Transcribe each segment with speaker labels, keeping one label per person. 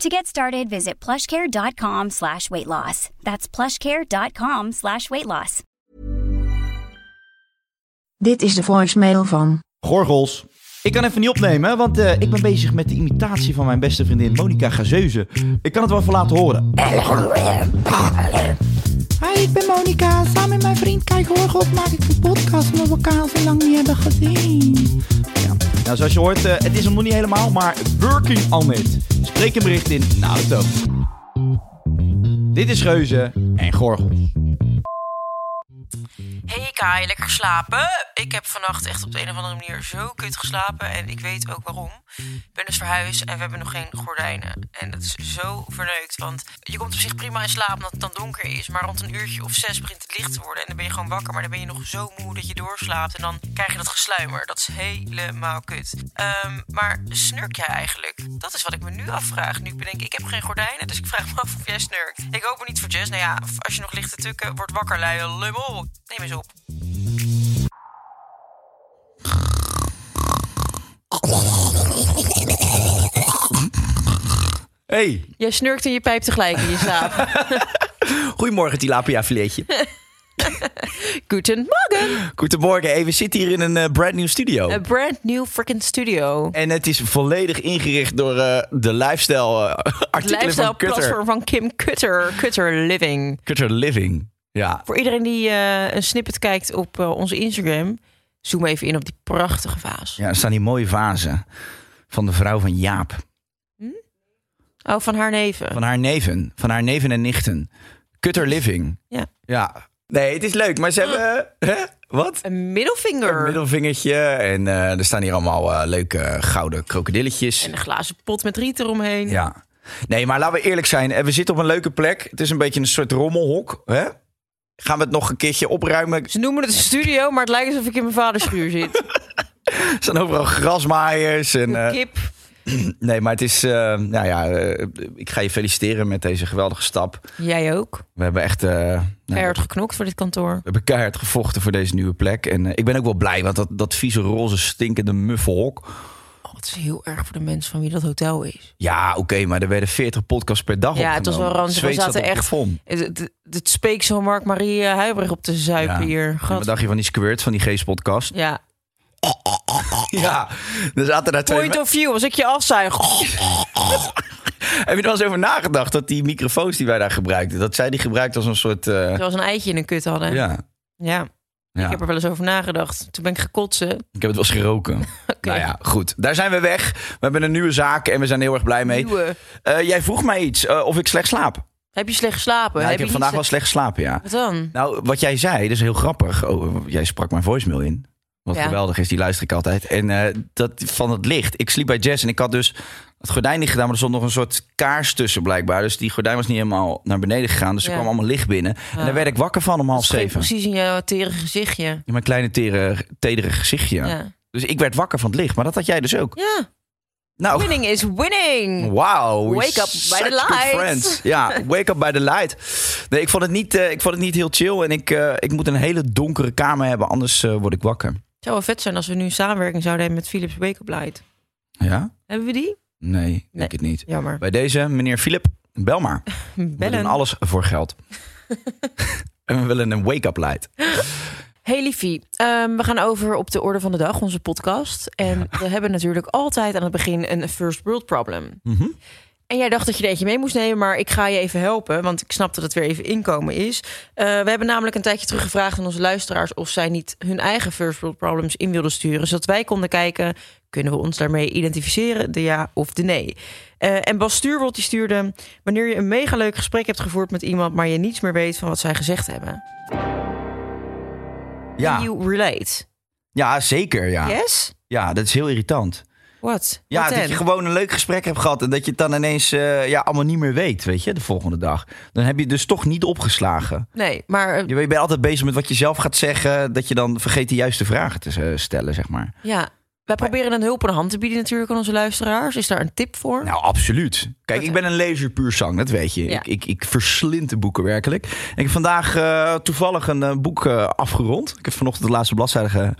Speaker 1: To get started, visit plushcare.com slash weight loss. That's plushcare.com slash weight loss.
Speaker 2: Dit is de voicemail van.
Speaker 3: Gorgels. Ik kan even niet opnemen, want eh, ik ben bezig met de imitatie van mijn beste vriendin Monica Gazeuze. Ik kan het wel even laten horen.
Speaker 4: Hi, ik ben Monika. Samen met mijn vriend Kijk Horgop maak ik een podcast omdat we elkaar al zo lang niet hebben gezien.
Speaker 3: Nou, zoals je hoort, eh, het is hem nog niet helemaal, maar working on it. Spreek een bericht in na de toon. Dit is Geuze en Gorgels.
Speaker 5: Hey Kai, lekker geslapen? Ik heb vannacht echt op de een of andere manier zo kut geslapen. En ik weet ook waarom. Ik ben dus verhuisd en we hebben nog geen gordijnen. En dat is zo verneukt. Want je komt op zich prima in slaap omdat het dan donker is. Maar rond een uurtje of zes begint het licht te worden. En dan ben je gewoon wakker. Maar dan ben je nog zo moe dat je doorslaapt. En dan krijg je dat gesluimer. Dat is helemaal kut. Ehm, maar snurk jij eigenlijk? Dat is wat ik me nu afvraag. Nu ik bedenk, ik heb geen gordijnen. Dus ik vraag me af of jij snurkt. Ik hoop het niet voor Jess. Nou ja, als je nog ligt te tukken, word wakker, lui. Lummel. Neem eens op.
Speaker 6: Hey,
Speaker 5: Jij snurkt in je pijp tegelijk in je slaap.
Speaker 6: goedemorgen tilapia filetje.
Speaker 5: Goedemorgen.
Speaker 6: Goedemorgen, hey, we zitten hier in een eh, brand new studio.
Speaker 5: Een brand new freaking studio.
Speaker 6: En het is volledig ingericht door eh, de lifestyle eh, artikelen
Speaker 5: Lifestyle
Speaker 6: van Cutter.
Speaker 5: platform van Kim Kutter. Kutter Living.
Speaker 6: Cutter Living. Ja,
Speaker 5: Voor iedereen die eh, een snippet kijkt op eh, onze Instagram, zoom even in op die prachtige vaas.
Speaker 6: ja, er staan die mooie vazen van de vrouw van Jaap.
Speaker 5: Oh, van haar neven.
Speaker 6: Van haar neven. Van haar neven en nichten. Cutter Living.
Speaker 5: Ja.
Speaker 6: Ja. Nee, het is leuk, maar ze hebben... Hè? Wat?
Speaker 5: Een middelvinger.
Speaker 6: Een middelvingertje. En eh, er staan hier allemaal eh, leuke gouden krokodilletjes.
Speaker 5: En een glazen pot met riet eromheen.
Speaker 6: Ja. Nee, maar laten we eerlijk zijn. Eh, We zitten op een leuke plek. Het is een beetje een soort rommelhok. Hè? Gaan we het nog een keertje opruimen? Er
Speaker 5: Ze noemen het een studio, maar het lijkt alsof ik in mijn vaders schuur zit.
Speaker 6: staan overal grasmaaiers. En, eh,
Speaker 5: Kip.
Speaker 6: nee, maar het is... eh, nou ja, eh, ik ga je feliciteren met deze geweldige stap.
Speaker 5: Jij ook.
Speaker 6: We hebben echt... eh, nou,
Speaker 5: Keihard geknokt voor dit kantoor.
Speaker 6: We hebben keihard gevochten voor deze nieuwe plek. En eh, ik ben ook wel blij, want dat, dat vieze roze stinkende muffelhok...
Speaker 5: Oh, het is heel erg voor de mensen van wie dat hotel is.
Speaker 6: Ja, oké, maar er werden 40 podcasts per dag
Speaker 5: Ja, het was wel
Speaker 6: opgenomen.
Speaker 5: ranzig. We
Speaker 6: Zweet Oh, zat
Speaker 5: zaten
Speaker 6: op het
Speaker 5: echt.
Speaker 6: plafond.
Speaker 5: Het, het, het speek zo Mark-Marie eh, Huibrecht op te zuipen
Speaker 6: Ja.
Speaker 5: hier.
Speaker 6: En
Speaker 5: Gat.
Speaker 6: Wat dacht je van die squirt van die Geest-podcast?
Speaker 5: Ja.
Speaker 6: Ja, er zaten daar twee...
Speaker 5: Point of view, als ik je afzuig.
Speaker 6: Heb je er wel eens over nagedacht dat die microfoons die wij daar gebruikten, dat zij die gebruikt als een soort. eh,
Speaker 5: Zoals een eitje in een kut hadden. Ja.
Speaker 6: ja.
Speaker 5: Ik heb er wel eens over nagedacht. Toen ben ik gekotsen.
Speaker 6: het wel eens geroken. Nou ja, goed. Daar zijn we weg. We hebben een nieuwe zaak en we zijn er heel erg blij mee.
Speaker 5: Nieuwe.
Speaker 6: Eh, jij vroeg mij iets eh, of ik slecht slaap.
Speaker 5: Heb je slecht geslapen?
Speaker 6: Ja, Nou, ik
Speaker 5: je
Speaker 6: heb
Speaker 5: niet
Speaker 6: vandaag wel
Speaker 5: slecht-
Speaker 6: slecht geslapen, ja.
Speaker 5: Wat dan?
Speaker 6: Nou, wat jij zei, dat is heel grappig. Oh, jij sprak mijn voicemail in. Wat
Speaker 5: Ja.
Speaker 6: geweldig is, die luister ik altijd. En eh, dat van het licht. Ik sliep bij Jess en ik had dus het gordijn niet gedaan, maar er stond nog een soort kaars tussen blijkbaar. Dus die gordijn was niet helemaal naar beneden gegaan. Dus er
Speaker 5: Ja.
Speaker 6: kwam allemaal licht binnen. En daar werd ik wakker van om half
Speaker 5: Het scheen
Speaker 6: zeven.
Speaker 5: precies in jouw tere gezichtje.
Speaker 6: In mijn kleine tere, tedere gezichtje.
Speaker 5: Ja. ja.
Speaker 6: Dus ik werd wakker van het licht, maar dat had jij dus ook. Nou,
Speaker 5: Winning is
Speaker 6: Oh.
Speaker 5: winning.
Speaker 6: wauw. we
Speaker 5: Wake up by
Speaker 6: such
Speaker 5: the
Speaker 6: good
Speaker 5: light.
Speaker 6: friends. Ja, wake up by the light. Nee, ik vond het niet, eh, ik vond het niet heel chill. En ik, eh, ik moet een hele donkere kamer hebben, anders eh, word ik wakker.
Speaker 5: Het zou wel vet zijn als we nu een samenwerking zouden hebben met Philips Wake Up Light.
Speaker 6: Ja?
Speaker 5: Hebben we die?
Speaker 6: Nee, denk het niet.
Speaker 5: Jammer. Hm,
Speaker 6: Bij deze, meneer Philip, bel maar. We doen
Speaker 5: Bellen.
Speaker 6: alles voor geld. en we willen een wake-up light.
Speaker 5: Hey liefie, ehm, we gaan over op de orde van de dag,
Speaker 6: Mhm.
Speaker 5: onze podcast. En we hebben natuurlijk altijd aan het begin een first world problem. En jij dacht dat je er eentje mee moest nemen, maar ik ga je even helpen. Want ik snap dat het weer even inkomen is. Eh, we hebben namelijk een tijdje terug gevraagd aan onze luisteraars... of zij niet hun eigen first world problems in wilden sturen. Zodat wij konden kijken, kunnen we ons daarmee identificeren? De ja of de nee. Eh, en Bas Stuurwold die stuurde... wanneer je een mega leuk gesprek hebt gevoerd met iemand... maar je niets meer weet van wat zij gezegd hebben. Can
Speaker 6: Ja,
Speaker 5: You relate.
Speaker 6: ja zeker. Ja.
Speaker 5: Yes?
Speaker 6: ja, dat is heel irritant.
Speaker 5: What?
Speaker 6: Ja,
Speaker 5: What
Speaker 6: dat
Speaker 5: then?
Speaker 6: je gewoon een leuk gesprek hebt gehad en dat je het dan ineens eh, ja, allemaal niet meer weet, weet je, de volgende dag. Dan heb je het dus toch niet opgeslagen.
Speaker 5: Nee, maar eh,
Speaker 6: Je, je bent altijd bezig met wat je zelf gaat zeggen, dat je dan vergeet de juiste vragen te eh, stellen, zeg maar.
Speaker 5: ja... Wij proberen een hulp en een hand te bieden natuurlijk aan onze luisteraars. Is daar een tip voor?
Speaker 6: Nou, absoluut. Kijk, ik ben een lezer puur zang, dat weet je.
Speaker 5: Ja.
Speaker 6: Ik, ik, ik verslind de boeken werkelijk. En ik heb vandaag eh, toevallig een eh, boek eh, afgerond. Ik heb vanochtend de laatste bladzijde ge-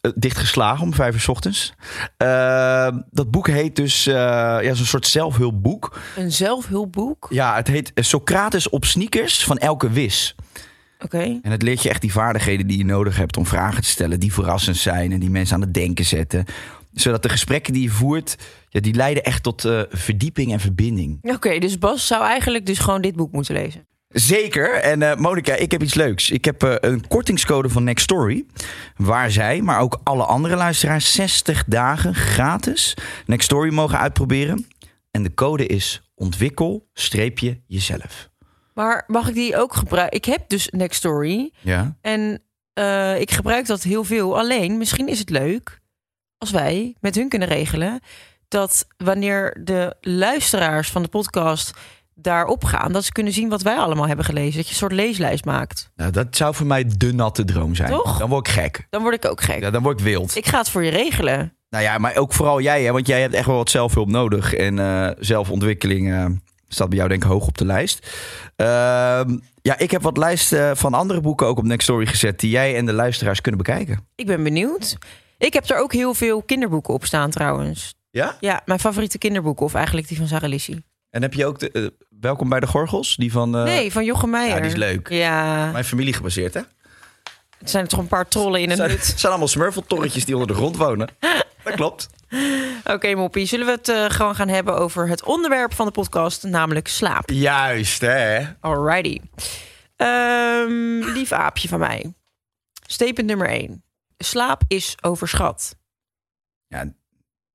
Speaker 6: eh, dichtgeslagen om vijf uur 's ochtends. Eh, dat boek heet dus, eh ja, het is een soort zelfhulpboek.
Speaker 5: Een zelfhulpboek?
Speaker 6: Ja, het heet eh, Socrates op sneakers van elke wis.
Speaker 5: Oké.
Speaker 6: En het leert je echt die vaardigheden die je nodig hebt om vragen te stellen, die verrassend zijn en die mensen aan het denken zetten. Zodat de gesprekken die je voert, ja, die leiden echt tot eh, verdieping en verbinding.
Speaker 5: Oké, dus Bas zou eigenlijk dus gewoon dit boek moeten lezen.
Speaker 6: Zeker. En eh Monika, ik heb iets leuks. Ik heb eh, een kortingscode van Nextory. Waar zij, maar ook alle andere luisteraars, 60 dagen gratis Nextory mogen uitproberen. En de code is ontwikkel-jezelf.
Speaker 5: Maar mag ik die ook gebruiken? Ik heb dus Nextory
Speaker 6: Ja.
Speaker 5: en eh, ik gebruik dat heel veel. Alleen, misschien is het leuk als wij met hun kunnen regelen dat wanneer de luisteraars van de podcast daarop gaan, dat ze kunnen zien wat wij allemaal hebben gelezen. Dat je een soort leeslijst maakt.
Speaker 6: Nou, dat zou voor mij de natte droom zijn.
Speaker 5: Toch?
Speaker 6: Dan word ik gek.
Speaker 5: Dan word ik ook gek.
Speaker 6: Ja, dan word ik wild.
Speaker 5: Ik ga het voor je regelen.
Speaker 6: Nou ja, maar ook vooral jij, hè, want jij hebt echt wel wat zelfhulp nodig. En eh, zelfontwikkeling eh, staat bij jou denk ik hoog op de lijst. Ehm, ja, ik heb wat lijsten van andere boeken ook op Nextory gezet... die jij en de luisteraars kunnen bekijken.
Speaker 5: Ik ben benieuwd. Ik heb er ook heel veel kinderboeken op staan trouwens.
Speaker 6: Ja?
Speaker 5: Ja, mijn favoriete kinderboeken, of eigenlijk die van Sarah Lissie.
Speaker 6: En heb je ook de, eh, Welkom bij de Gorgels, die van... eh,
Speaker 5: Nee, van Jochem Meijer.
Speaker 6: ja, die is leuk.
Speaker 5: Ja,
Speaker 6: Mijn familie gebaseerd, hè?
Speaker 5: het zijn er toch een paar trollen in een
Speaker 6: Het
Speaker 5: hut.
Speaker 6: zijn, zijn allemaal smurfeltorretjes die onder de grond wonen. Dat klopt.
Speaker 5: Oké, Moppie, zullen we het eh, gewoon gaan hebben over het onderwerp van de podcast, namelijk slaap.
Speaker 6: Juist, hè?
Speaker 5: Alrighty. Ehm, lief aapje van mij. Statement nummer 1. Slaap is overschat.
Speaker 6: Ja,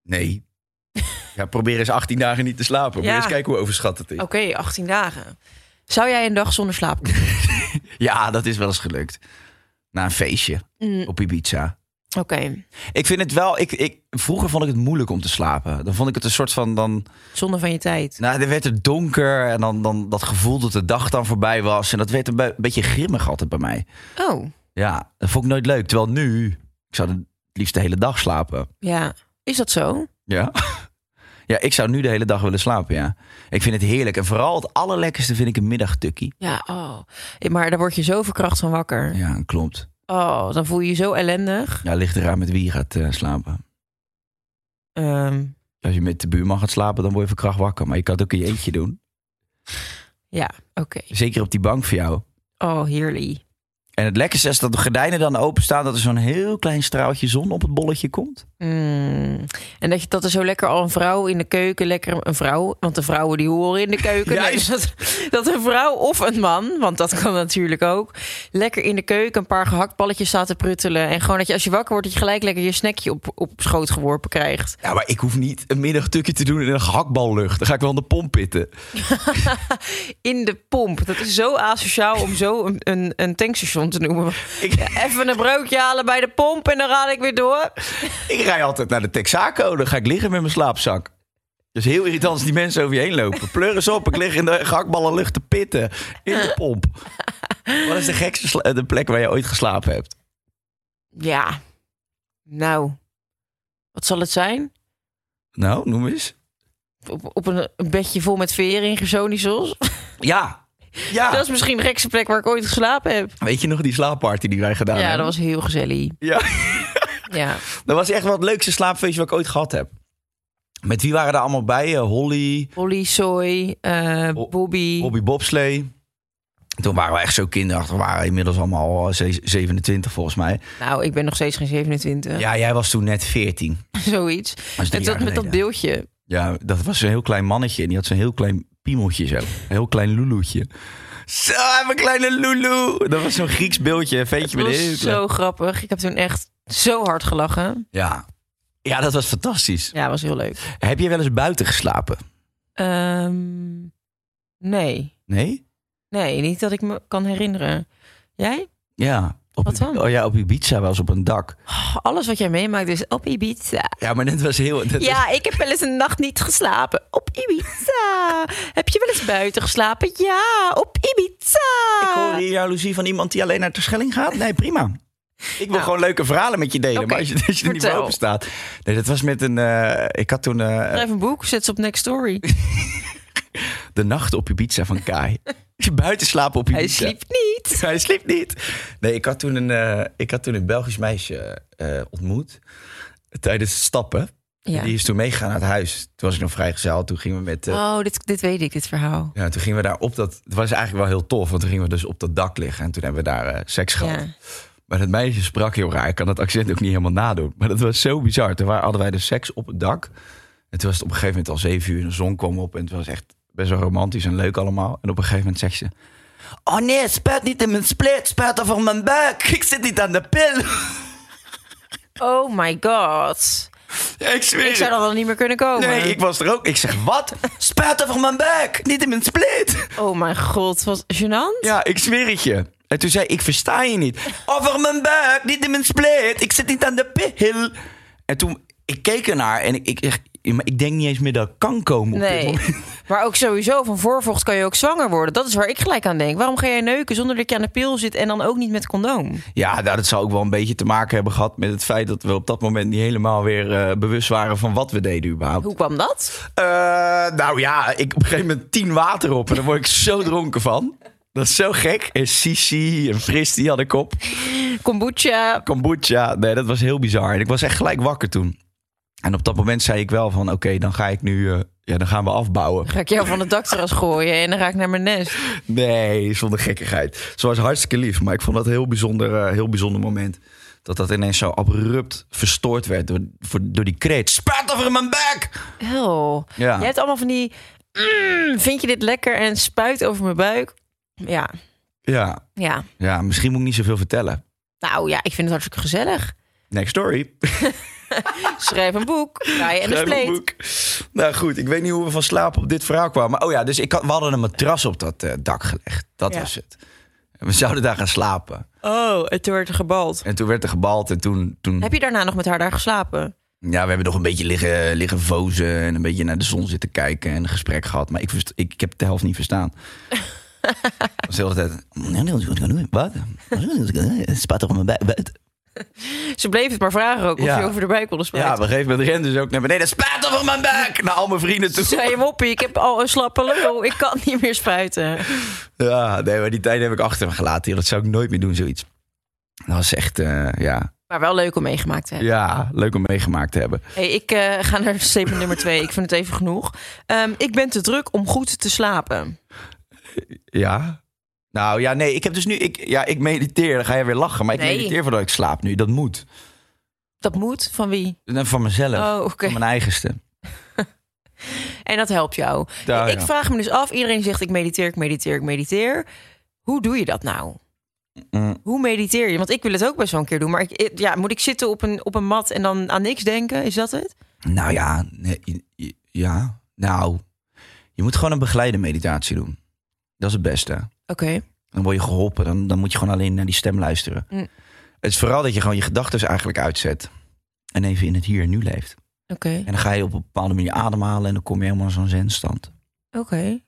Speaker 6: nee. Ja, probeer eens 18 dagen niet te slapen. Moet je
Speaker 5: Ja.
Speaker 6: eens kijken hoe overschat het is.
Speaker 5: Oké, 18 dagen. Zou jij een dag zonder slaap kunnen?
Speaker 6: Ja, dat is wel eens gelukt. Na een feestje
Speaker 5: Mm,
Speaker 6: op Ibiza.
Speaker 5: Oké.
Speaker 6: Ik vind het wel... Ik, ik, vroeger vond ik het moeilijk om te slapen. Dan vond ik het een soort van... Dan,
Speaker 5: Zonde van je tijd.
Speaker 6: nou, dan werd het donker. En dan, dan dat gevoel dat de dag dan voorbij was. En dat werd een be- beetje grimmig altijd bij mij.
Speaker 5: Oh,
Speaker 6: Ja, dat vond ik nooit leuk. Terwijl nu... Ik zou het liefst de hele dag slapen.
Speaker 5: ja. Is dat zo?
Speaker 6: Ja. Ja, ik zou nu de hele dag willen slapen, ja. Ik vind het heerlijk. En vooral het allerlekkerste vind ik een middagtukkie.
Speaker 5: Ja, oh. Maar daar word je zo verkracht van wakker.
Speaker 6: Ja, klopt.
Speaker 5: Oh, dan voel je je zo ellendig.
Speaker 6: Ja, ligt eraan met wie je gaat eh, slapen.
Speaker 5: Ehm,
Speaker 6: Als je met de buurman gaat slapen, dan word je van kracht wakker. Maar je kan het ook in je eentje doen.
Speaker 5: ja, oké.
Speaker 6: Zeker op die bank voor jou.
Speaker 5: Oh, heerlijk.
Speaker 6: En het lekkerste is dat de gordijnen dan openstaan... dat er zo'n heel klein straaltje zon op het bolletje komt.
Speaker 5: Mm. En dat, je, dat er zo lekker al een vrouw in de keuken, lekker een vrouw, want de vrouwen die horen in de keuken. Nee,
Speaker 6: Juist.
Speaker 5: dat, dat een vrouw of een man, want dat kan natuurlijk ook, lekker in de keuken een paar gehaktballetjes staat te pruttelen. En gewoon dat je als je wakker wordt, dat je gelijk lekker je snackje op, op schoot geworpen krijgt.
Speaker 6: Ja, maar ik hoef niet een middagtukje te doen in een gehaktballucht. Dan ga ik wel aan de pomp pitten.
Speaker 5: In de pomp. Dat is zo asociaal om zo een, een, een tankstation te noemen. Ja, even een broodje halen bij de pomp en dan ga ik weer door.
Speaker 6: Ik rij altijd naar de Texaco. Dan ga ik liggen met mijn slaapzak. Dat is heel irritant als die mensen over je heen lopen. Pleur eens op, ik lig in de gehaktballenlucht te pitten. In de pomp. Wat is de gekste sla- de plek waar je ooit geslapen hebt?
Speaker 5: Ja. Nou, wat zal het zijn?
Speaker 6: Nou, noem eens.
Speaker 5: op, op een, een bedje vol met veren in Gersonisos.
Speaker 6: Ja. Ja.
Speaker 5: Dat is misschien de gekste plek waar ik ooit geslapen heb.
Speaker 6: Weet je nog die slaapparty die wij gedaan
Speaker 5: ja, dat
Speaker 6: hebben?
Speaker 5: was heel gezellig.
Speaker 6: Ja,
Speaker 5: Ja.
Speaker 6: dat was echt wel het leukste slaapfeestje wat ik ooit gehad heb. Met wie waren er allemaal bij? Eh, Holly,
Speaker 5: Polly, Soy, eh,
Speaker 6: Bo-
Speaker 5: Bobby.
Speaker 6: Bobby Bobslee. Toen waren we echt zo kinderachtig. We waren inmiddels allemaal eh, ze- 27 volgens mij.
Speaker 5: Nou, ik ben nog steeds geen 27.
Speaker 6: Ja, jij was toen net 14. is
Speaker 5: Zoiets.
Speaker 6: drie
Speaker 5: En dat
Speaker 6: jaar
Speaker 5: met dat
Speaker 6: geleden.
Speaker 5: beeldje.
Speaker 6: Ja, dat was een heel klein mannetje en die had zo'n heel klein piemeltje zo. Een heel klein loeloetje. Zo, hij heeft een kleine loeloe. Dat was zo'n Grieks beeldje, een
Speaker 5: Het
Speaker 6: ventje met een heel
Speaker 5: was
Speaker 6: klein-
Speaker 5: zo grappig. Ik heb toen echt zo hard gelachen.
Speaker 6: Ja. ja, dat was fantastisch.
Speaker 5: Ja, was heel leuk.
Speaker 6: Heb je wel eens buiten geslapen?
Speaker 5: Ehm, nee.
Speaker 6: Nee?
Speaker 5: Nee, niet dat ik me kan herinneren. Jij?
Speaker 6: Ja. Op,
Speaker 5: Wat dan?
Speaker 6: Oh ja, op Ibiza was op een dak.
Speaker 5: Oh, alles wat jij meemaakt is op Ibiza.
Speaker 6: Ja, maar dat was heel... dat was-
Speaker 5: Ja, ik heb wel eens een nacht niet geslapen. Op Ibiza. heb je wel eens buiten geslapen? Ja, op Ibiza.
Speaker 6: Ik hoor hier jaloezie van iemand die alleen naar Terschelling gaat. Nee, prima. Ik wil gewoon leuke verhalen met je delen.
Speaker 5: Nou. Oké,
Speaker 6: Maar als je, als je er niet voor
Speaker 5: vertel.
Speaker 6: open staat. Nee, dat was met een... eh, ik had toen eh,
Speaker 5: Schrijf een boek, zet ze op Next Story.
Speaker 6: de nacht op Ibiza van Kai. Buiten slapen op Ibiza.
Speaker 5: Hij sliep niet.
Speaker 6: Hij sliep niet. Nee, ik had toen een, eh, ik had toen een Belgisch meisje eh, ontmoet. Tijdens stappen.
Speaker 5: Ja.
Speaker 6: Die is toen meegegaan naar het huis. Toen was ik nog vrijgezel. Toen gingen we met... eh,
Speaker 5: Oh, dit, dit weet ik, dit verhaal.
Speaker 6: Ja, toen gingen we daar op dat... Het was eigenlijk wel heel tof. Want toen gingen we dus op dat dak liggen. En toen hebben we daar eh, seks gehad.
Speaker 5: Ja.
Speaker 6: Maar dat meisje sprak heel raar. Ik kan dat accent ook niet helemaal nadoen. Maar dat was zo bizar. Toen wa- hadden wij de seks op het dak. En toen was het op een gegeven moment al zeven uur. En de zon kwam op. En het was echt best wel romantisch en leuk allemaal. En op een gegeven moment zegt ze... Oh nee, spuit niet in mijn split. Spuit over mijn buik. Ik zit niet aan de pil.
Speaker 5: Oh my god.
Speaker 6: ik zweer
Speaker 5: Ik zou
Speaker 6: het.
Speaker 5: dan wel niet meer kunnen komen.
Speaker 6: Nee, ik was er ook. Ik zeg, wat? Spuit over mijn buik. Niet in mijn split.
Speaker 5: Oh mijn god, wat gênant.
Speaker 6: Ja, ik zweer het je. En toen zei ik, ik versta je niet. Over mijn buik, niet in mijn split. Ik zit niet aan de pil. En toen, ik keek ernaar en ik, ik, echt, ja, maar ik denk niet eens meer dat ik kan komen. op dit
Speaker 5: Nee.
Speaker 6: moment.
Speaker 5: Maar ook sowieso, van voorvocht kan je ook zwanger worden. Dat is waar ik gelijk aan denk. Waarom ga jij neuken zonder dat je aan de pil zit en dan ook niet met condoom?
Speaker 6: Ja, nou, dat zou ook wel een beetje te maken hebben gehad met het feit dat we op dat moment niet helemaal weer eh, bewust waren van wat we deden überhaupt.
Speaker 5: Hoe kwam dat?
Speaker 6: Eh, nou ja, ik op een gegeven moment tien water op en daar word ik zo dronken van. Dat is zo gek. En Sisi en Fris, die had ik op.
Speaker 5: Kombucha.
Speaker 6: kombucha. Nee, dat was heel bizar. En ik was echt gelijk wakker toen. En op dat moment zei ik wel van, oké, dan ga ik nu, eh, ja, dan gaan we afbouwen.
Speaker 5: Ga ik jou van het dakterras gooien en dan ga ik naar mijn nest.
Speaker 6: Nee, zonder gekkigheid. Ze was hartstikke lief, maar ik vond dat een heel bijzonder, eh, heel bijzonder moment. Dat dat ineens zo abrupt verstoord werd door, voor, door die kreet. Spuit over mijn bek!
Speaker 5: Hel.
Speaker 6: Ja.
Speaker 5: Je hebt allemaal van die... "Mm, vind je dit lekker? En spuit over mijn buik. Ja,
Speaker 6: Ja,
Speaker 5: ja.
Speaker 6: ja, misschien moet ik niet zoveel vertellen.
Speaker 5: Nou ja, ik vind het hartstikke gezellig.
Speaker 6: Next story.
Speaker 5: Schrijf een boek. Ga je en de
Speaker 6: Schrijf een
Speaker 5: spleet.
Speaker 6: boek. Nou goed, ik weet niet hoe we van slaap op dit verhaal kwamen. Maar oh ja, dus ik had, we hadden een matras op dat eh, dak gelegd. Dat
Speaker 5: Ja.
Speaker 6: was het. En we zouden daar gaan slapen.
Speaker 5: Oh, en toen werd er gebald.
Speaker 6: En toen werd er gebald en toen... toen
Speaker 5: Heb je daarna nog met haar daar geslapen?
Speaker 6: Ja, we hebben nog een beetje liggen, liggen vozen en een beetje naar de zon zitten kijken en een gesprek gehad. Maar ik, verst- ik, ik heb de helft niet verstaan. Dat was de hele tijd... "Oh, Wat? Spat toch op mijn buik.
Speaker 5: Ze bleef het maar vragen ook of
Speaker 6: Ja.
Speaker 5: je over de buik wilde
Speaker 6: Ja, op
Speaker 5: spuiten.
Speaker 6: een gegeven moment rende ze ook naar beneden. Spat op mijn buik! Naar al mijn vrienden toe.
Speaker 5: Toen zei je, Woppie, ik heb al een slappe lul. Ik kan niet meer spuiten.
Speaker 6: Ja, nee, maar die tijd heb ik achter me gelaten. joh. Dat zou ik nooit meer doen, zoiets. Dat was echt, eh, ja.
Speaker 5: Maar wel leuk om meegemaakt te hebben.
Speaker 6: ja, leuk om meegemaakt te hebben.
Speaker 5: Hey, ik eh, ga naar statement nummer twee. Ik vind het even genoeg. Ehm, ik ben te druk om goed te slapen.
Speaker 6: Ja. Nou ja, nee, ik heb dus nu, ik, ja, ik mediteer, dan ga je weer lachen. Maar ik
Speaker 5: Nee.
Speaker 6: mediteer voordat ik slaap nu, dat moet.
Speaker 5: Dat moet, van wie?
Speaker 6: En Van mezelf,
Speaker 5: Oh, oké.
Speaker 6: van mijn eigenste.
Speaker 5: En dat helpt jou.
Speaker 6: Ja,
Speaker 5: ik
Speaker 6: ja.
Speaker 5: vraag me dus af, iedereen zegt ik mediteer, ik mediteer, ik mediteer. Hoe doe je dat nou?
Speaker 6: Mm.
Speaker 5: Hoe mediteer je? Want ik wil het ook best wel een keer doen. Maar ik, ja, moet ik zitten op een, op een mat en dan aan niks denken? Is dat het?
Speaker 6: Nou ja, nee, i- i- ja, nou, je moet gewoon een begeleide meditatie doen. Dat is het beste.
Speaker 5: Oké.
Speaker 6: Dan word je geholpen, dan, dan moet je gewoon alleen naar die stem luisteren.
Speaker 5: Mm.
Speaker 6: Het is vooral dat je gewoon je gedachten eigenlijk uitzet. En even in het hier en nu leeft.
Speaker 5: Oké.
Speaker 6: En dan ga je op een bepaalde manier ademhalen en dan kom je helemaal in zo'n zenstand.
Speaker 5: Oké.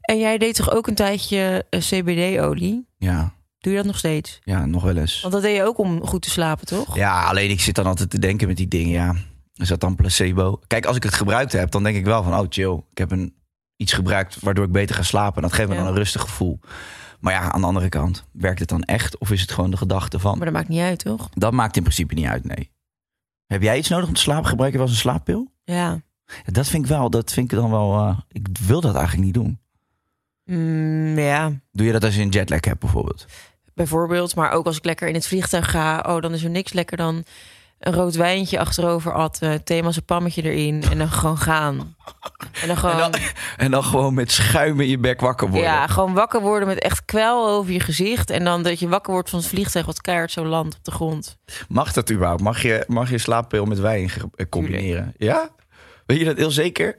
Speaker 5: En jij deed toch ook een tijdje eh, CBD-olie?
Speaker 6: Ja,
Speaker 5: Doe je dat nog steeds?
Speaker 6: ja, nog wel eens.
Speaker 5: Want dat deed je ook om goed te slapen, toch?
Speaker 6: Ja, alleen ik zit dan altijd te denken met die dingen, ja, is dat dan placebo? Kijk, als ik het gebruikt heb, dan denk ik wel van, oh chill, ik heb een, iets gebruikt waardoor ik beter ga slapen. Dat geeft me
Speaker 5: Ja.
Speaker 6: dan een rustig gevoel. Maar ja, aan de andere kant, werkt het dan echt of is het gewoon de gedachte
Speaker 5: Maar
Speaker 6: van?
Speaker 5: dat maakt niet uit, toch?
Speaker 6: Dat maakt in principe niet uit, nee. Heb jij iets nodig om te slapen? Gebruik je wel eens een slaappil?
Speaker 5: Ja.
Speaker 6: Ja, Dat vind ik wel, dat vind ik dan wel, eh, ik wil dat eigenlijk niet doen.
Speaker 5: Mm, ja,
Speaker 6: Doe je dat als je een jetlag hebt bijvoorbeeld?
Speaker 5: bijvoorbeeld. Maar ook als ik lekker in het vliegtuig ga, oh, dan is er niks lekker dan een rood wijntje achterover atten, thema's een pammetje erin en dan gewoon gaan. En dan gewoon,
Speaker 6: En, dan, en dan gewoon met schuim in je bek wakker worden.
Speaker 5: ja, gewoon wakker worden met echt kwel over je gezicht. En dan dat je wakker wordt van het vliegtuig wat keihard zo landt op de grond.
Speaker 6: Mag dat überhaupt? Mag je, mag je slaappil met wijn ge- eh, combineren? Ja? Weet je dat heel zeker?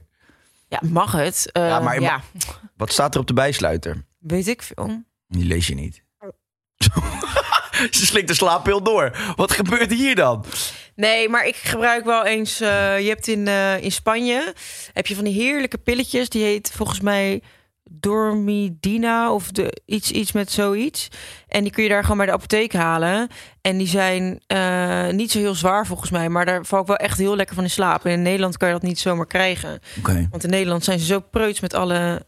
Speaker 5: Ja, mag het? Eh,
Speaker 6: Ja,
Speaker 5: ja,
Speaker 6: maar- maar- Wat staat er op de bijsluiter?
Speaker 5: weet ik veel.
Speaker 6: Die lees je niet. Ze slikt de slaappil door. Wat gebeurt hier dan?
Speaker 5: Nee, maar ik gebruik wel eens. eh, je hebt in, eh, in Spanje heb je van die heerlijke pilletjes. Die heet volgens mij Dormidina of de, iets, iets met zoiets. En die kun je daar gewoon bij de apotheek halen. En die zijn eh, niet zo heel zwaar volgens mij. Maar daar val ik wel echt heel lekker van in slaap. En in Nederland kan je dat niet zomaar krijgen.
Speaker 6: Oké.
Speaker 5: Want in Nederland zijn ze zo preuts met alle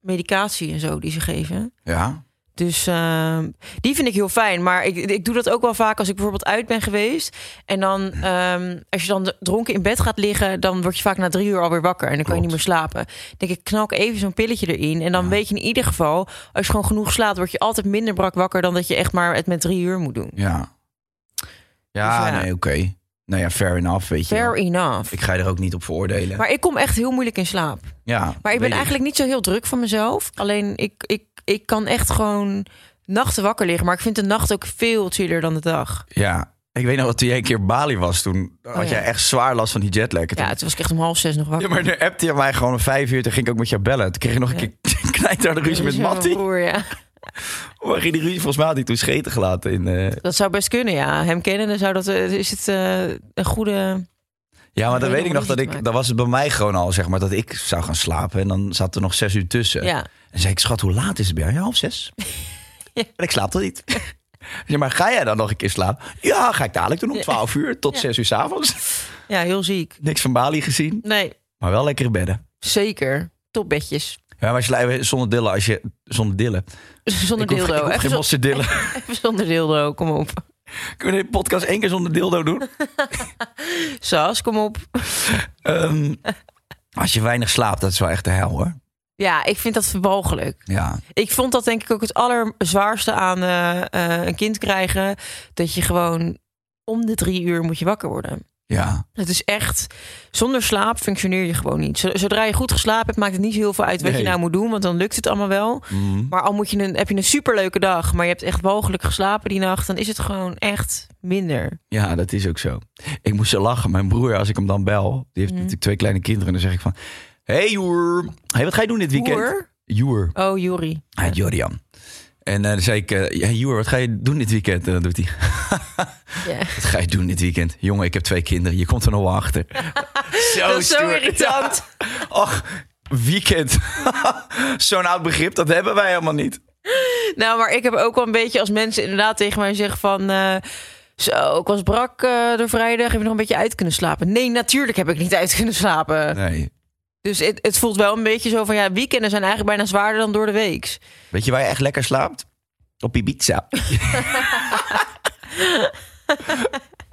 Speaker 5: medicatie en zo die ze geven.
Speaker 6: Ja.
Speaker 5: Dus ehm, die vind ik heel fijn. Maar ik, ik doe dat ook wel vaak als ik bijvoorbeeld uit ben geweest. En dan, ehm, als je dan dronken in bed gaat liggen, dan word je vaak na drie uur alweer wakker. En dan kan je
Speaker 6: Klopt.
Speaker 5: niet meer slapen. Dan denk ik, knal ik even zo'n pilletje erin. En dan weet je in ieder geval, als je gewoon genoeg slaapt, word je altijd minder brak wakker dan dat je echt maar het met drie uur moet doen.
Speaker 6: Ja. Ja,
Speaker 5: Dus ja.
Speaker 6: nee, oké. Nou ja, fair enough, weet je. wel.
Speaker 5: Fair enough.
Speaker 6: Ik ga je er ook niet op veroordelen.
Speaker 5: Maar ik kom echt heel moeilijk in slaap.
Speaker 6: ja,
Speaker 5: Maar ik ben
Speaker 6: weet
Speaker 5: eigenlijk niet zo heel druk van mezelf. Alleen ik, ik, ik kan echt gewoon nachten wakker liggen. Maar ik vind de nacht ook veel chiller dan de dag.
Speaker 6: Ja. Ik weet nog wat toen jij een keer op Bali was, toen had
Speaker 5: Oh ja.
Speaker 6: jij echt zwaar last van die jetlag. En toen-
Speaker 5: Ja, het was ik echt om half zes nog
Speaker 6: Ja,
Speaker 5: wakker.
Speaker 6: maar nu appte je mij gewoon om vijf uur. Toen ging ik ook met jou bellen. Toen kreeg je nog een
Speaker 5: Ja.
Speaker 6: keer knijterharde ruzie met
Speaker 5: Dus ja,
Speaker 6: Matty.
Speaker 5: mijn broer, ja.
Speaker 6: Maar ging die ruzie volgens mij had hij toen scheten gelaten. In, eh,
Speaker 5: Dat zou best kunnen, ja. Hem kennen, dan zou dat, eh, is het eh, een goede...
Speaker 6: Ja, maar dan
Speaker 5: Hele
Speaker 6: weet ik nog dat
Speaker 5: ruzie te
Speaker 6: ik...
Speaker 5: maken.
Speaker 6: Dan was het bij mij gewoon al, zeg maar, dat ik zou gaan slapen. En dan zat er nog zes uur tussen.
Speaker 5: Ja.
Speaker 6: En zei ik, schat, hoe laat is het bij jou? Ja, half zes. En ik slaap toch niet? Ik zei, maar ga jij dan nog een keer slapen? Ja, ga ik dadelijk doen om twaalf uur tot zes uur s'avonds.
Speaker 5: ja, heel ziek.
Speaker 6: Niks van Bali gezien,
Speaker 5: Nee,
Speaker 6: maar wel lekkere bedden.
Speaker 5: zeker. Topbedjes.
Speaker 6: Ja, maar als je, lijkt- zonder dillen, als je... Zonder dillen.
Speaker 5: Zonder
Speaker 6: ik hoef, ik
Speaker 5: dildo.
Speaker 6: hoef
Speaker 5: Even,
Speaker 6: geen
Speaker 5: zo-
Speaker 6: bosse dillen.
Speaker 5: even zonder dildo, kom op.
Speaker 6: Kunnen we de podcast één keer zonder dildo doen?
Speaker 5: Sas, kom op.
Speaker 6: Ehm, als je weinig slaapt, dat is wel echt de hel hoor.
Speaker 5: Ja, ik vind dat verbalgelijk.
Speaker 6: Ja,
Speaker 5: Ik vond dat denk ik ook het allerzwaarste aan eh, eh, een kind krijgen. Dat je gewoon om de drie uur moet je wakker worden.
Speaker 6: ja.
Speaker 5: Het is echt, zonder slaap functioneer je gewoon niet. Zo- Zodra je goed geslapen hebt, maakt het niet zo heel veel uit wat
Speaker 6: Nee. Mhm.
Speaker 5: je nou moet doen. Want dan lukt het allemaal wel. Maar al moet je een, heb je een superleuke dag, maar je hebt echt walgelijk geslapen die nacht. Dan is het gewoon echt minder.
Speaker 6: Ja, dat is ook zo. Ik moest zo lachen. Mijn broer, als ik hem dan bel, die
Speaker 5: Mhm.
Speaker 6: heeft natuurlijk twee kleine kinderen. En dan zeg ik van, hey Joer, hey, wat ga je doen dit weekend?
Speaker 5: Hoer?
Speaker 6: Joer,
Speaker 5: Oh, Jori.
Speaker 6: hij heet Jorian. En eh, dan zei ik, eh, hey Joer, wat ga je doen dit weekend? En dan doet hij,
Speaker 5: Ja.
Speaker 6: wat ga je doen dit weekend? Jongen, ik heb twee kinderen, je komt er nog wel achter. zo
Speaker 5: Dat is zo
Speaker 6: stoer.
Speaker 5: irritant.
Speaker 6: Ach, weekend. Zo'n oud begrip, dat hebben wij helemaal niet.
Speaker 5: Nou, maar ik heb ook wel een beetje als mensen inderdaad tegen mij zeggen van... eh, zo, ik was brak eh, door vrijdag. Heb je nog een beetje uit kunnen slapen? Nee, natuurlijk heb ik niet uit kunnen slapen.
Speaker 6: Nee.
Speaker 5: Dus het, het voelt wel een beetje zo van... Ja, weekenden zijn eigenlijk bijna zwaarder dan door de week.
Speaker 6: Weet je waar je echt lekker slaapt? Op Ibiza.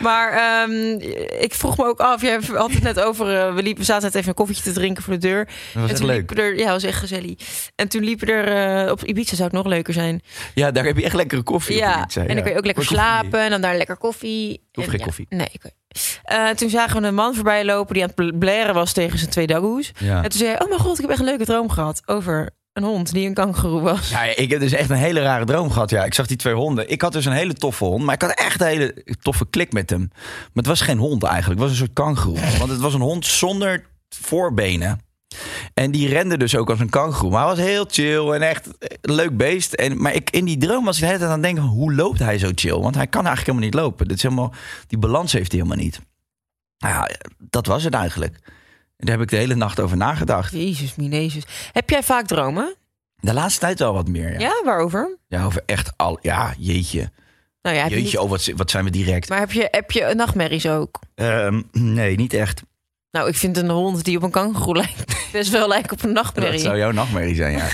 Speaker 5: Maar ehm, ik vroeg me ook af... Jij had het net over... eh, we, liepen, we zaten net even een koffietje te drinken voor de deur.
Speaker 6: Dat was
Speaker 5: en
Speaker 6: echt
Speaker 5: toen
Speaker 6: leuk.
Speaker 5: liepen er... Ja, was echt gezellig. En toen liepen er... eh, op Ibiza zou het nog leuker zijn.
Speaker 6: Ja, daar heb je echt lekkere koffie op
Speaker 5: Ja,
Speaker 6: Ibiza,
Speaker 5: en dan kun je ook lekker
Speaker 6: Maar ik hoef het
Speaker 5: slapen en dan daar lekker koffie.
Speaker 6: hoef
Speaker 5: En
Speaker 6: geen
Speaker 5: ja,
Speaker 6: koffie.
Speaker 5: Nee, ik- Eh, toen zagen we een man voorbij lopen die aan het bl- blaren was tegen zijn twee daggoes.
Speaker 6: niet. Ja.
Speaker 5: En toen zei hij, oh mijn god, ik heb echt een leuke droom gehad over een hond die een kangeroe was.
Speaker 6: Ja, ik heb dus echt een hele rare droom gehad. Ja, ik zag die twee honden. Ik had dus een hele toffe hond, maar ik had echt een hele toffe klik met hem. Maar het was geen hond eigenlijk, het was een soort kangoeroe. Want het was een hond zonder voorbenen. En die rende dus ook als een kangoeroe. Maar hij was heel chill en echt een leuk beest. En, maar ik, in die droom was ik de hele tijd aan het denken... van, hoe loopt hij zo chill? Want hij kan eigenlijk helemaal niet lopen. Dit is helemaal, die balans heeft hij helemaal niet. Nou ja, dat was het eigenlijk. En daar heb ik de hele nacht over nagedacht.
Speaker 5: Jezus, minezus. Heb jij vaak dromen?
Speaker 6: De laatste tijd wel wat meer, ja.
Speaker 5: Ja, waarover?
Speaker 6: Ja, over echt al. Ja, jeetje.
Speaker 5: Nou ja, heb je
Speaker 6: jeetje,
Speaker 5: niet-
Speaker 6: oh, wat, zi- wat zijn we direct?
Speaker 5: maar heb je, heb je nachtmerries ook?
Speaker 6: Ehm, nee, niet echt.
Speaker 5: Nou, ik vind een hond die op een kangeroe lijkt best wel lijkt op een
Speaker 6: Dat
Speaker 5: nachtmerrie.
Speaker 6: zou jouw nachtmerrie zijn, ja.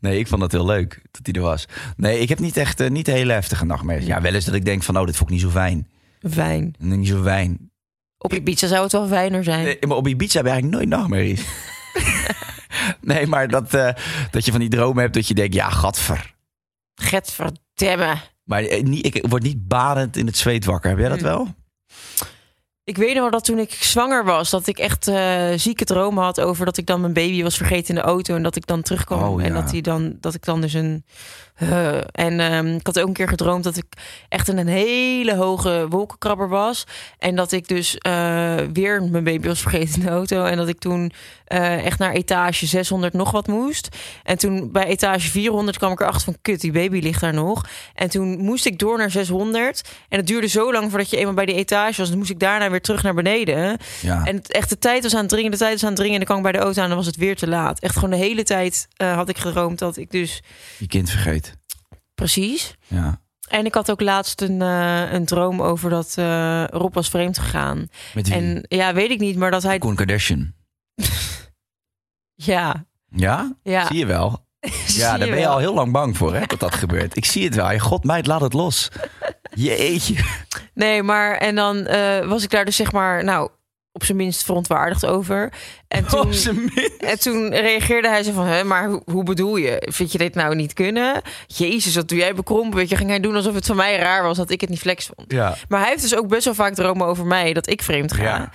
Speaker 6: Nee, ik vond dat heel leuk dat hij er was. Nee, ik heb niet echt eh, niet hele heftige nachtmerries. Ja, wel eens dat ik denk van, oh, dit vond ik niet zo fijn.
Speaker 5: Wijn.
Speaker 6: Niet zo fijn.
Speaker 5: Op Ibiza zou het wel fijner zijn.
Speaker 6: Nee, maar op Ibiza heb ik eigenlijk nooit nachtmerries. nee, maar dat, eh, dat je van die dromen hebt dat je denkt, ja, gadver.
Speaker 5: Getverdamme.
Speaker 6: Maar eh, niet, ik word niet badend in het zweet wakker. Heb jij
Speaker 5: Mm.
Speaker 6: dat wel?
Speaker 5: Ik weet nog wel dat toen ik zwanger was, dat ik echt eh, zieke dromen had over dat ik dan mijn baby was vergeten in de auto en dat ik dan terugkwam
Speaker 6: Oh,
Speaker 5: en
Speaker 6: ja.
Speaker 5: dat hij dan dat ik dan dus een eh, en ehm, ik had ook een keer gedroomd dat ik echt in een hele hoge wolkenkrabber was en dat ik dus eh, weer mijn baby was vergeten in de auto en dat ik toen eh, echt naar etage 600 nog wat moest en toen bij etage 400 kwam ik erachter van kut die baby ligt daar nog en toen moest ik door naar 600 en het duurde zo lang voordat je eenmaal bij die etage was. Dan moest ik daarna weer terug naar beneden.
Speaker 6: Ja.
Speaker 5: En het, echt, de tijd was aan het dringen, de tijd was aan het dringen. En dan kwam ik bij de auto aan en dan was het weer te laat. Echt gewoon de hele tijd eh, had ik gedroomd dat ik dus...
Speaker 6: Je kind vergeet.
Speaker 5: Precies.
Speaker 6: Ja.
Speaker 5: En ik had ook laatst een, eh, een droom over dat eh, Rob was vreemd gegaan.
Speaker 6: Met wie?
Speaker 5: En ja, weet ik niet, maar dat hij...
Speaker 6: Koen Kardashian.
Speaker 5: Ja,
Speaker 6: Ja?
Speaker 5: ja.
Speaker 6: Zie je wel.
Speaker 5: Zie
Speaker 6: Ja, daar ben je
Speaker 5: wel.
Speaker 6: al heel lang bang voor, hè, dat dat gebeurt. Ik zie het wel. Je god, meid, laat het los. Jeetje.
Speaker 5: Nee, maar en dan eh, was ik daar dus zeg maar... Nou, op zijn minst verontwaardigd over. En toen...
Speaker 6: Op zijn minst.
Speaker 5: En toen reageerde hij zo van, Hè, maar hoe, hoe bedoel je? Vind je dit nou niet kunnen? Jezus, wat doe jij bekrompen? Weet je, ging hij doen alsof het van mij raar was dat ik het niet flex vond.
Speaker 6: Ja.
Speaker 5: Maar hij heeft dus ook best wel vaak dromen over mij dat ik vreemd ga.
Speaker 6: Ja.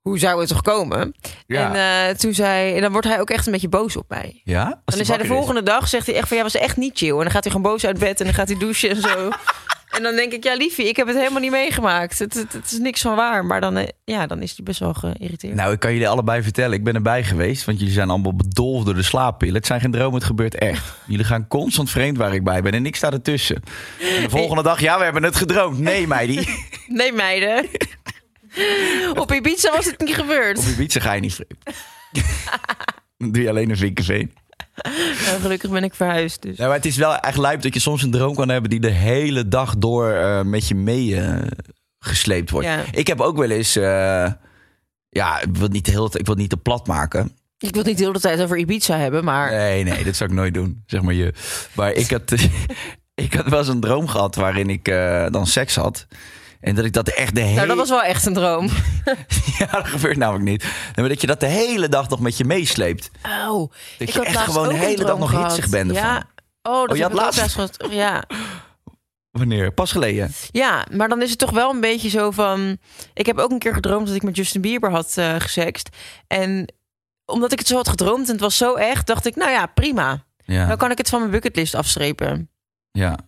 Speaker 5: Hoe zou het toch komen?
Speaker 6: Ja.
Speaker 5: En eh, toen zei, en dan wordt hij ook echt een beetje boos op mij.
Speaker 6: Ja? Als die
Speaker 5: en dan zei de
Speaker 6: wakker is.
Speaker 5: volgende dag, zegt hij echt van, ja, was echt niet chill. En dan gaat hij gewoon boos uit bed en dan gaat hij douchen en zo. En dan denk ik, ja liefie, ik heb het helemaal niet meegemaakt. Het, het, het is niks van waar. Maar dan, eh, ja, dan is hij best wel geïrriteerd.
Speaker 6: Nou, ik kan jullie allebei vertellen. Ik ben erbij geweest, want jullie zijn allemaal bedolven door de slaappillen. Het zijn geen dromen, het gebeurt echt. Jullie gaan constant vreemd waar ik bij ben en ik sta ertussen. En de volgende dag, ja, we hebben het gedroomd. Nee, meidie.
Speaker 5: Nee, meiden. Op Ibiza was het niet gebeurd.
Speaker 6: Op je bietsen ga je niet vreemd. Dan doe je alleen een vinkerveen.
Speaker 5: Nou, gelukkig ben ik verhuisd. Dus.
Speaker 6: Ja, maar het is wel echt lijp dat je soms een droom kan hebben die de hele dag door eh, met je mee eh, gesleept wordt.
Speaker 5: Ja.
Speaker 6: Ik heb ook wel eens, eh, ja, ik wil, niet heel, ik wil het niet te plat maken.
Speaker 5: Ik wil het niet de hele tijd over Ibiza hebben, maar...
Speaker 6: Nee, nee, dat zou ik nooit doen. Zeg maar je. Maar ik had, ik had wel eens een droom gehad waarin ik eh, dan seks had. En dat ik dat echt de hele...
Speaker 5: Nou, dat was wel echt een droom.
Speaker 6: Ja, dat gebeurt namelijk niet. Nee, maar dat je dat de hele dag nog met je meesleept. Dat
Speaker 5: Auw. Oh, ik
Speaker 6: je
Speaker 5: had
Speaker 6: echt
Speaker 5: laatst
Speaker 6: gewoon de
Speaker 5: ook een
Speaker 6: hele dag
Speaker 5: droom
Speaker 6: nog
Speaker 5: gehad.
Speaker 6: hitsig bent ervan.
Speaker 5: Ja. Oh, dat
Speaker 6: Oh, je
Speaker 5: heb
Speaker 6: had
Speaker 5: ik
Speaker 6: laatst-
Speaker 5: ook laatst gehad. Ja.
Speaker 6: Wanneer? Pas geleden.
Speaker 5: ja, maar dan is het toch wel een beetje zo van... Ik heb ook een keer gedroomd dat ik met Justin Bieber had eh gesext. En omdat ik het zo had gedroomd en het was zo echt... dacht ik, nou ja, prima.
Speaker 6: Ja.
Speaker 5: Dan kan ik het van mijn bucketlist afstrepen.
Speaker 6: ja.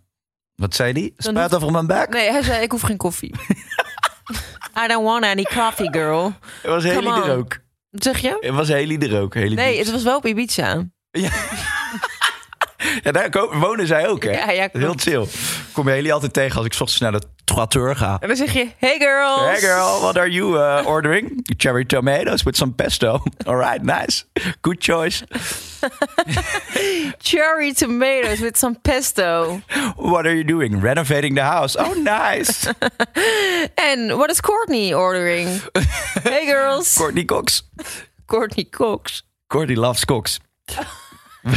Speaker 6: Wat zei die?
Speaker 5: Dan
Speaker 6: Spuit over mijn bek?
Speaker 5: Nee, hij zei, ik hoef geen koffie. I don't want any coffee, girl.
Speaker 6: Het was Haley
Speaker 5: Come
Speaker 6: er
Speaker 5: on.
Speaker 6: ook.
Speaker 5: Wat zeg je?
Speaker 6: Het was Haley er ook. Haley
Speaker 5: Nee,
Speaker 6: Bieber.
Speaker 5: het was wel op Ibiza.
Speaker 6: Ja, daar ko- wonen zij ook, hè?
Speaker 5: Ja, ja,
Speaker 6: Heel
Speaker 5: klopt.
Speaker 6: chill. Ik Kom je Haley altijd tegen als ik 's ochtends naar de trottoir ga.
Speaker 5: En dan zeg je, hey girls.
Speaker 6: Hey girl, what are you uh, ordering? Cherry tomatoes with some pesto. All right, nice. Good choice.
Speaker 5: Cherry tomatoes with some pesto.
Speaker 6: What are you doing? Renovating the house. Oh, nice.
Speaker 5: And what is Courtney ordering? hey girls.
Speaker 6: Courtney Cox.
Speaker 5: Courtney Cox.
Speaker 6: Courtney loves Cox.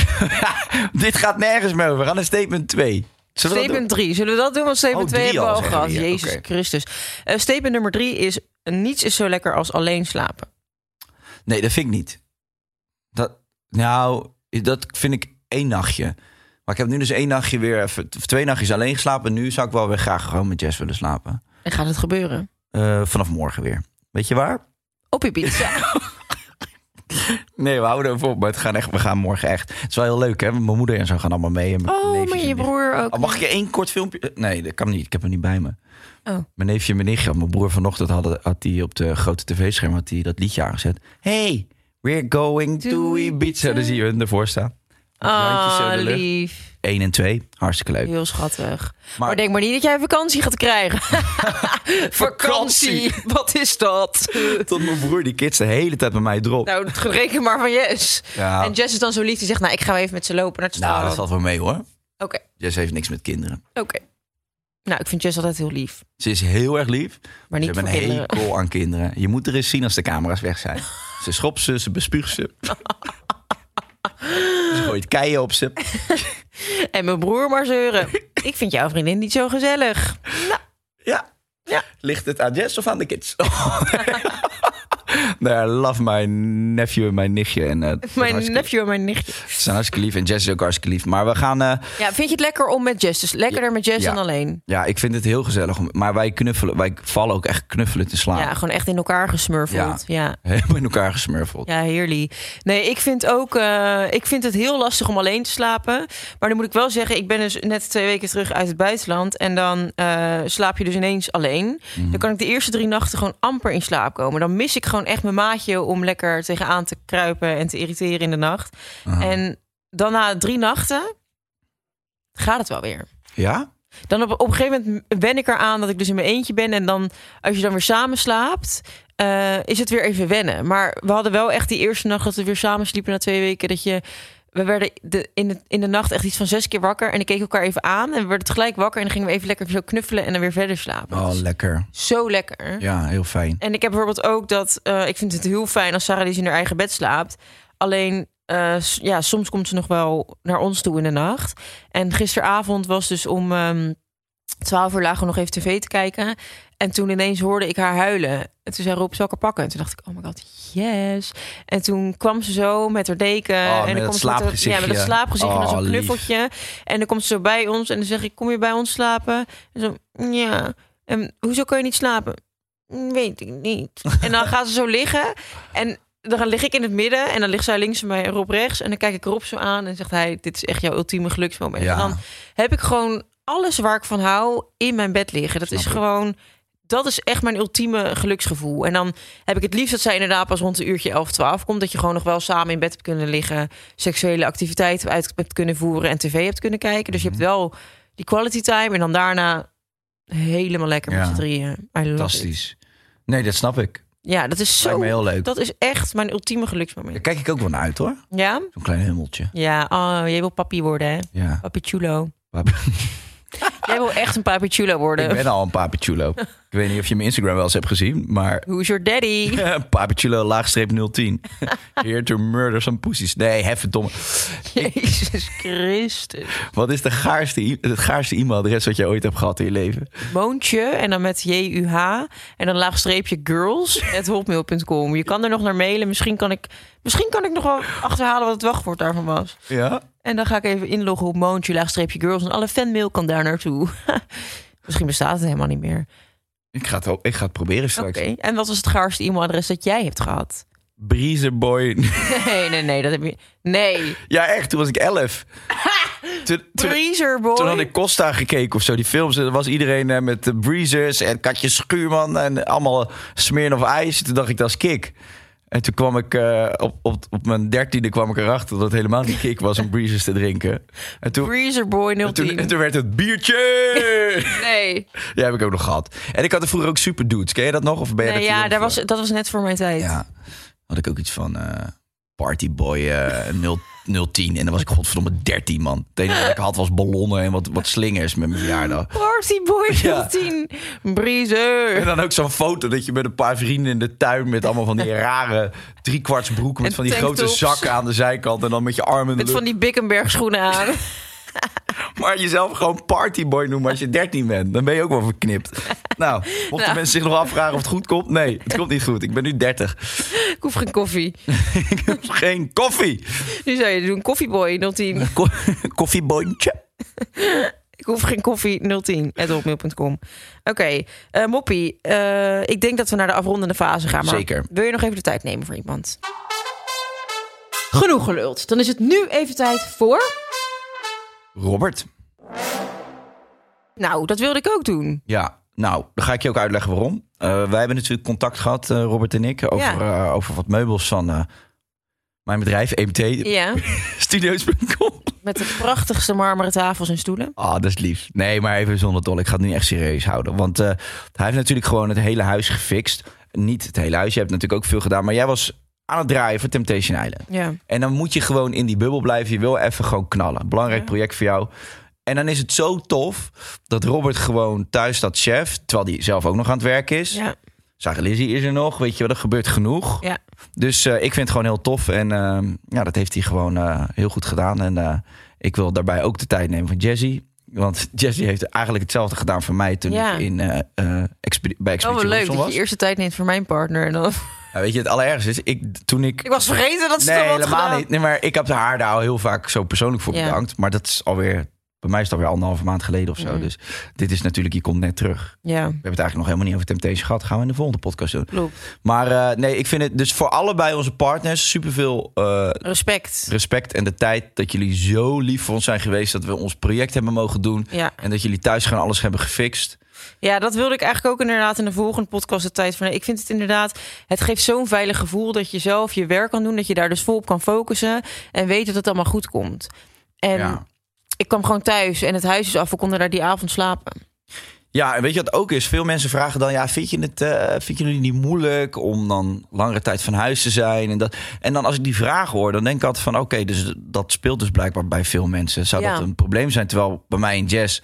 Speaker 6: Dit gaat nergens meer over. We gaan naar statement 2. Zullen we dat
Speaker 5: Statement 3. Zullen we dat doen? Want statement
Speaker 6: Oh,
Speaker 5: 2
Speaker 6: drie
Speaker 5: hebben we
Speaker 6: al, zeggen
Speaker 5: al
Speaker 6: we
Speaker 5: gehad.
Speaker 6: hier.
Speaker 5: Jezus
Speaker 6: Oké.
Speaker 5: Christus. Eh, statement nummer 3 is... Niets is zo lekker als alleen slapen.
Speaker 6: doen? Nee, dat vind ik niet. Dat, nou, dat vind ik één nachtje. Maar ik heb nu dus één nachtje weer, even- of twee nachtjes alleen geslapen. Nu zou ik wel weer graag gewoon met Jess willen slapen.
Speaker 5: En gaat het gebeuren?
Speaker 6: Eh, vanaf morgen weer. Weet je waar?
Speaker 5: Op Ibiza.
Speaker 6: Nee, we houden ervoor op. Maar het gaan echt, we gaan morgen echt. Het is wel heel leuk, hè? want Mijn moeder en zo gaan allemaal mee. En mijn
Speaker 5: Oh,
Speaker 6: neefjes
Speaker 5: maar
Speaker 6: en
Speaker 5: je
Speaker 6: nichten.
Speaker 5: broer ook.
Speaker 6: Oh, mag ik je één kort filmpje? Eh, Nee, dat kan niet. Ik heb hem niet bij me.
Speaker 5: Oh.
Speaker 6: Mijn neefje en mijn nichtje, want mijn broer vanochtend hadden, had hij op de grote tv-scherm had hij dat liedje aangezet. Hey, we're going to
Speaker 5: To
Speaker 6: Ibiza.
Speaker 5: Ibiza.
Speaker 6: Dan zie je hun ervoor staan. Handjes zo
Speaker 5: Ah,
Speaker 6: in de lucht.
Speaker 5: lief.
Speaker 6: 1 en 2, hartstikke leuk.
Speaker 5: Heel schattig. Maar,
Speaker 6: Maar-
Speaker 5: denk maar niet dat jij vakantie gaat krijgen. vakantie, wat is dat?
Speaker 6: Tot mijn broer, die kids de hele tijd bij mij drop.
Speaker 5: nou, reken maar van Jess.
Speaker 6: Ja.
Speaker 5: En Jess is dan zo lief, die zegt, nou, ik ga even met ze lopen naar het
Speaker 6: nou, dat
Speaker 5: strand.
Speaker 6: valt wel mee hoor.
Speaker 5: Oké,
Speaker 6: Jess heeft niks met kinderen.
Speaker 5: oké. Nou, ik vind Jess altijd heel lief.
Speaker 6: Ze is heel erg lief.
Speaker 5: Maar niet
Speaker 6: ze
Speaker 5: voor
Speaker 6: hebben een
Speaker 5: kinderen.
Speaker 6: hekel aan kinderen. Je moet er eens zien als de camera's weg zijn. Ze schopt ze, ze bespuugt ze. ze gooit keien op ze.
Speaker 5: En mijn broer maar zeuren. ik vind jouw vriendin niet zo gezellig.
Speaker 6: Ja.
Speaker 5: Ja.
Speaker 6: Ligt het aan Jess of aan de kids? Nee, I love my nephew en mijn nichtje. En, eh, dat is
Speaker 5: Mijn
Speaker 6: hartstikke-
Speaker 5: nephew en mijn nichtje.
Speaker 6: Ze zijn hartstikke lief en Jess is ook hartstikke lief. Maar we gaan... eh,
Speaker 5: Ja, vind je het lekker om met Jess? Dus lekkerder met Jess
Speaker 6: Ja.
Speaker 5: dan alleen.
Speaker 6: ja, ik vind het heel gezellig. om- Maar wij knuffelen, wij vallen ook echt knuffelen te slaan.
Speaker 5: Ja, gewoon echt in elkaar gesmurfeld. ja.
Speaker 6: Helemaal in elkaar gesmurfeld.
Speaker 5: Ja, heerlijk. Nee, ik vind ook, eh, ik vind het heel lastig om alleen te slapen. Maar dan moet ik wel zeggen, ik ben dus net twee weken terug uit het buitenland. En dan eh, slaap je dus ineens alleen.
Speaker 6: Mhm.
Speaker 5: Dan kan ik de eerste drie nachten gewoon amper in slaap komen. Dan mis ik gewoon echt mijn maatje om lekker tegenaan te kruipen en te irriteren in de nacht. En dan na drie nachten gaat het wel weer.
Speaker 6: Ja?
Speaker 5: Dan op, op een gegeven moment ben ik eraan dat ik dus in mijn eentje ben. En dan, als je dan weer samen slaapt, eh, is het weer even wennen. Maar we hadden wel echt die eerste nacht dat we weer samen sliepen na twee weken. Dat je, we werden de, in, de, in de nacht echt iets van zes keer wakker. En ik keek elkaar even aan. En we werden tegelijk wakker. En dan gingen we even lekker zo knuffelen en dan weer verder slapen.
Speaker 6: Oh,
Speaker 5: Dat is
Speaker 6: lekker.
Speaker 5: zo lekker.
Speaker 6: Ja, heel fijn.
Speaker 5: En ik heb bijvoorbeeld ook dat. eh, ik vind het heel fijn als Sarah dus in haar eigen bed slaapt. Alleen, eh, s- ja, soms komt ze nog wel naar ons toe in de nacht. En gisteravond was dus om ehm 12 uur lagen we nog even tv te kijken. En toen ineens hoorde ik haar huilen. En toen zei Rob, zal ik haar pakken? En toen dacht ik, oh my god, yes. En toen kwam ze zo met haar deken.
Speaker 6: Oh,
Speaker 5: en
Speaker 6: met
Speaker 5: dan
Speaker 6: dat
Speaker 5: komt ze met haar-
Speaker 6: slaapgezichtje.
Speaker 5: Ja, met dat slaapgezichtje en dan
Speaker 6: Oh,
Speaker 5: zo'n
Speaker 6: lief.
Speaker 5: knuffeltje. En dan komt ze zo bij ons en dan zeg ik, kom je bij ons slapen? En zo, ja. En Ehm, hoezo kan je niet slapen? Mm, Weet ik niet. En dan gaan ze zo liggen. En dan lig ik in het midden. En dan ligt zij links van mij en Rob rechts. En dan kijk ik Rob zo aan en zegt hij... dit is echt jouw ultieme geluksmoment.
Speaker 6: Ja.
Speaker 5: En dan heb ik gewoon alles waar ik van hou in mijn bed liggen. Dat is gewoon... Dat is echt mijn ultieme geluksgevoel. En dan heb ik het liefst dat zij inderdaad pas rond een uurtje 11, 12 komt. Dat je gewoon nog wel samen in bed hebt kunnen liggen. Seksuele activiteiten uit hebt kunnen voeren. En tv hebt kunnen kijken. Dus je hebt wel die quality time. En dan daarna helemaal lekker met
Speaker 6: Ja.
Speaker 5: z'n drieën. I love it.
Speaker 6: Fantastisch. Nee, dat snap ik.
Speaker 5: Ja, dat is
Speaker 6: Lijkt
Speaker 5: zo.
Speaker 6: me heel leuk.
Speaker 5: Dat is echt mijn ultieme
Speaker 6: Daar
Speaker 5: geluksmoment.
Speaker 6: kijk ik ook wel naar uit hoor.
Speaker 5: Ja?
Speaker 6: Zo'n klein hummeltje.
Speaker 5: Ja, oh, jij wil papi worden, hè?
Speaker 6: Ja.
Speaker 5: Papi chulo.
Speaker 6: Pap-
Speaker 5: Jij wil echt een papi chulo
Speaker 6: Ik
Speaker 5: worden.
Speaker 6: ben al een papichulo. ik weet niet of je mijn Instagram wel eens hebt gezien, maar
Speaker 5: Who's your daddy?
Speaker 6: papichulo laagstreep 010. Here to murder some pussies. Nee, hefverdomme.
Speaker 5: Jezus Christus.
Speaker 6: Wat is de gaarste, e- het gaarste e-mailadres wat jij ooit hebt gehad in je leven?
Speaker 5: Moontje en dan met J-U-H en dan laagstreepje girls at hotmail.com. Je kan er nog naar mailen. Misschien kan ik, misschien kan ik nog wel achterhalen wat het wachtwoord daarvan was.
Speaker 6: Ja?
Speaker 5: En dan ga ik even inloggen op Moontje laagstreepje girls en alle fanmail kan daar naartoe. misschien bestaat het helemaal niet meer.
Speaker 6: Ik ga het, wel- ik ga het proberen
Speaker 5: Oké.
Speaker 6: straks.
Speaker 5: En wat was het gaarste e-mailadres dat jij hebt gehad?
Speaker 6: Breezerboy.
Speaker 5: Nee, nee, nee, dat heb je. Nee.
Speaker 6: ja, echt, toen was ik 11. Toen, toen,
Speaker 5: Breezerboy.
Speaker 6: Toen had ik Costa gekeken of zo, die films. En dan was iedereen eh, met de Breezers en Katje Schuurman en allemaal smeren of ijs. Toen dacht ik, dat is kick. En toen kwam ik eh, op, op, op mijn dertiende kwam ik erachter dat het helemaal niet kick was om Breezers te drinken. En toen,
Speaker 5: Breezerboy
Speaker 6: en toen,
Speaker 5: 010.
Speaker 6: en toen werd het biertje!
Speaker 5: Nee.
Speaker 6: ja, heb ik ook nog gehad. En ik had er vroeger ook super dudes. Ken je dat nog? Of ben je
Speaker 5: nee
Speaker 6: dat
Speaker 5: ja, daar was, dat was net voor mijn tijd.
Speaker 6: Ja, had ik ook iets van eh Partyboy eh 0 010. En dan was ik godverdomme 13, man. Het enige wat ik had was ballonnen en wat, wat slingers met mijn verjaardag.
Speaker 5: Partyboy
Speaker 6: Ja.
Speaker 5: 010. Breezer.
Speaker 6: En dan ook zo'n foto dat je met een paar vrienden in de tuin... met allemaal van die rare driekwarts broeken... met
Speaker 5: En
Speaker 6: van die grote
Speaker 5: tanktops.
Speaker 6: zakken aan de zijkant... en dan met je armen in de
Speaker 5: Met van
Speaker 6: lucht.
Speaker 5: die Bickenberg schoenen aan.
Speaker 6: Maar jezelf gewoon partyboy noemen als je 13 bent. Dan ben je ook wel verknipt. Nou, mochten mensen zich nog afvragen of het goed komt... nee, het komt niet goed. Ik ben nu 30.
Speaker 5: ik hoef geen koffie.
Speaker 6: Ik heb geen koffie.
Speaker 5: Nu zou je doen Koffieboy 010.
Speaker 6: Ko koffieboontje.
Speaker 5: Ik hoef geen koffie 010. At hotmail.com. Oké, eh, Moppie. eh, ik denk dat we naar de afrondende fase gaan. Maar
Speaker 6: Zeker.
Speaker 5: Wil je nog even de tijd nemen voor iemand? Genoeg geluld. Dan is het nu even tijd voor...
Speaker 6: Robert.
Speaker 5: Nou, dat wilde ik ook doen.
Speaker 6: Ja, nou, dan ga ik je ook uitleggen waarom. Eh, wij hebben natuurlijk contact gehad, eh, Robert en ik, over, eh, over wat meubels van eh, mijn bedrijf, E EMT,
Speaker 5: Ja,
Speaker 6: studios.com.
Speaker 5: met de prachtigste marmeren tafels en stoelen.
Speaker 6: Ah, dat is lief. Nee, maar even zonder dol. Ik ga het nu echt serieus houden. Want eh, hij heeft natuurlijk gewoon het hele huis gefixt. Niet het hele huis, je hebt natuurlijk ook veel gedaan. Maar jij was aan het draaien voor Temptation Island.
Speaker 5: Ja.
Speaker 6: En dan moet je gewoon in die bubbel blijven. Je wil even gewoon knallen. Belangrijk project voor jou. En dan is het zo tof dat Robert gewoon thuis dat chef... terwijl hij zelf ook nog aan het werk is.
Speaker 5: Ja,
Speaker 6: Zagen Lizzie is er nog. Weet je wel, er gebeurt genoeg.
Speaker 5: ja.
Speaker 6: Dus eh, ik vind het gewoon heel tof. En ehm, eh, ja, dat heeft hij gewoon eh, heel goed gedaan. En eh, ik wil daarbij ook de tijd nemen van Jazzy. Want Jessie heeft eigenlijk hetzelfde gedaan voor mij toen
Speaker 5: Ja.
Speaker 6: ik in, eh, eh, Expedi- bij
Speaker 5: Oh, wat
Speaker 6: Expeditie
Speaker 5: leuk
Speaker 6: Robinson
Speaker 5: dat je
Speaker 6: was.
Speaker 5: eerste tijd neemt voor mijn partner. En dan...
Speaker 6: Ja, weet je, het allerergste is, ik, toen ik...
Speaker 5: Ik was vergeten dat ze
Speaker 6: nee,
Speaker 5: dat had
Speaker 6: helemaal
Speaker 5: gedaan.
Speaker 6: niet. Nee, maar ik heb de haar daar al heel vaak zo persoonlijk voor
Speaker 5: Ja.
Speaker 6: bedankt. Maar dat is alweer... Bij mij is het alweer anderhalve maand geleden of zo.
Speaker 5: Mm.
Speaker 6: Dus dit is natuurlijk, je komt net terug.
Speaker 5: Ja,
Speaker 6: We hebben het eigenlijk nog helemaal niet over Temptation gehad. Gaan we in de volgende podcast doen.
Speaker 5: klopt.
Speaker 6: Maar eh, nee, ik vind het dus voor allebei onze partners superveel eh
Speaker 5: Respect.
Speaker 6: respect en de tijd dat jullie zo lief voor ons zijn geweest. Dat we ons project hebben mogen doen.
Speaker 5: Ja.
Speaker 6: En dat jullie thuis gewoon alles hebben gefixt.
Speaker 5: ja, dat wilde ik eigenlijk ook inderdaad in de volgende podcast de tijd van. nee, Ik vind het inderdaad, het geeft zo'n veilig gevoel dat je zelf je werk kan doen. Dat je daar dus vol op kan focussen en weet dat het allemaal goed komt. En
Speaker 6: Ja.
Speaker 5: ik kwam gewoon thuis en het huis is af. We konden daar die avond slapen.
Speaker 6: Ja, en weet je wat ook is? Veel mensen vragen dan, ja, vind je het, eh, vind je het niet moeilijk om dan langere tijd van huis te zijn? En, dat, en dan als ik die vraag hoor, dan denk ik altijd van, oké, dus dat speelt dus blijkbaar bij veel mensen. Zou
Speaker 5: Ja.
Speaker 6: dat een probleem zijn? Terwijl bij mij in jazz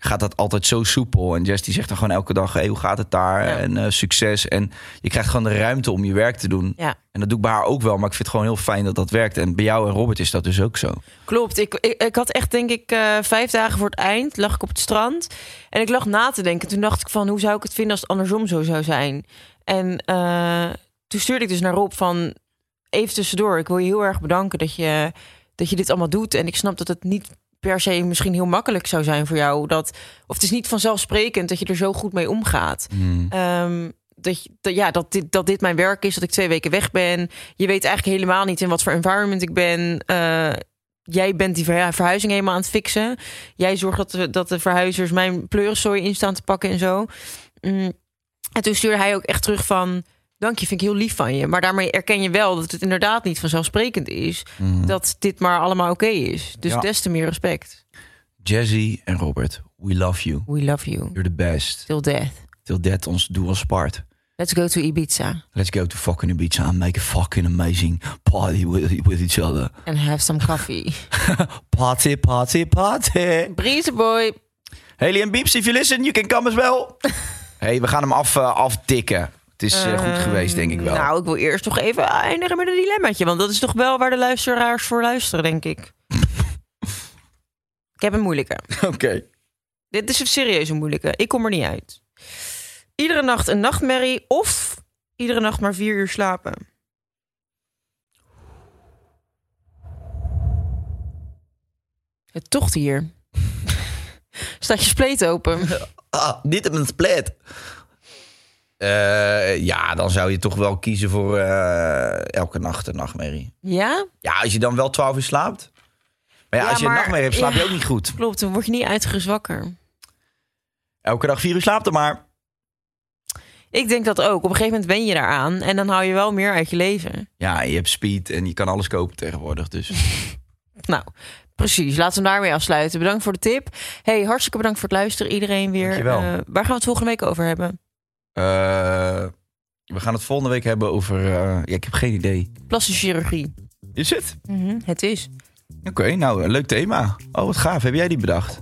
Speaker 6: gaat dat altijd zo soepel. En jazz die zegt dan gewoon elke dag, hey, hoe gaat het daar?
Speaker 5: Ja.
Speaker 6: En eh, succes. En je krijgt gewoon de ruimte om je werk te doen.
Speaker 5: Ja.
Speaker 6: En dat doe ik bij haar ook wel, maar ik vind het gewoon heel fijn dat dat werkt. En bij jou en Robert is dat dus ook
Speaker 5: Eh.
Speaker 6: zo.
Speaker 5: Klopt. Ik, ik, ik had echt, denk ik, eh, vijf dagen voor het eind lag ik op het strand. En ik lag na te denken. Toen dacht ik van, hoe zou ik het vinden als het andersom zo zou zijn? En eh, toen stuurde ik dus naar Rob van, even tussendoor. Ik wil je heel erg bedanken dat je, dat je dit allemaal doet. En ik snap dat het niet per se misschien heel makkelijk zou zijn voor jou. Dat, of het is niet vanzelfsprekend dat je er zo goed mee omgaat.
Speaker 6: Hmm.
Speaker 5: Ehm, dat, je- dat, ja, dat, dit, dat dit mijn werk is, dat ik twee weken weg ben. Je weet eigenlijk helemaal niet in wat voor environment ik ben. Eh, jij bent die verhu- verhuizing helemaal aan het fixen. Jij zorgt dat de, dat de verhuizers mijn pleurensooi in staan te pakken en zo. Mm. En toen stuurde hij ook echt terug van... Dank je, vind ik heel lief van je. Maar daarmee erken je wel dat het inderdaad niet vanzelfsprekend is... dat dit maar allemaal oké is. Dus
Speaker 6: Ja.
Speaker 5: des te meer respect.
Speaker 6: Jazzy en Robert, we love you.
Speaker 5: We love you.
Speaker 6: You're the best.
Speaker 5: Till death.
Speaker 6: Till death ons doe ons part.
Speaker 5: Let's go to Ibiza
Speaker 6: Let's go to fucking Ibiza and make a fucking amazing party with, with each other.
Speaker 5: and have some coffee.
Speaker 6: Party, party, party.
Speaker 5: Breeze boy.
Speaker 6: Haley en Beeps, if you listen, you can come as well. hey, we gaan hem af, eh, aftikken. Het is eh, goed geweest, denk ik wel.
Speaker 5: Ehm, Nou, ik wil eerst toch even eindigen met een dilemmaatje. Want dat is toch wel waar de luisteraars voor luisteren, denk ik. ik heb een moeilijke.
Speaker 6: Oké.
Speaker 5: Dit is een serieuze moeilijke. Ik kom er niet uit. Iedere nacht een nachtmerrie of iedere nacht maar vier uur slapen. Het tocht hier. Staat je spleet open?
Speaker 6: Ah, niet in mijn split. Eh, ja, dan zou je toch wel kiezen voor eh, elke nacht een nachtmerrie.
Speaker 5: Ja?
Speaker 6: Ja, als je dan wel 12 uur slaapt. Maar ja,
Speaker 5: Ja,
Speaker 6: als je een
Speaker 5: maar-
Speaker 6: nachtmerrie hebt, slaap je
Speaker 5: ja.
Speaker 6: ook niet goed.
Speaker 5: Klopt, dan word je niet uitgerust wakker.
Speaker 6: Elke dag vier uur slaapt er maar.
Speaker 5: Ik denk dat ook. Op een gegeven moment ben je daaraan en dan hou je wel meer uit je leven.
Speaker 6: Ja, je hebt speed en je kan alles kopen tegenwoordig. Dus
Speaker 5: Nou, precies. Laten we hem daarmee afsluiten. Bedankt voor de tip. Hey, hartstikke bedankt voor het luisteren, iedereen weer.
Speaker 6: Dankjewel.
Speaker 5: Eh, waar gaan we het volgende week over hebben?
Speaker 6: eh, we gaan het volgende week hebben over. eh, ja, ik heb geen idee.
Speaker 5: Plastische chirurgie.
Speaker 6: Is het?
Speaker 5: Het is.
Speaker 6: Oké, nou, een leuk thema. Oh, wat gaaf. Heb jij die bedacht?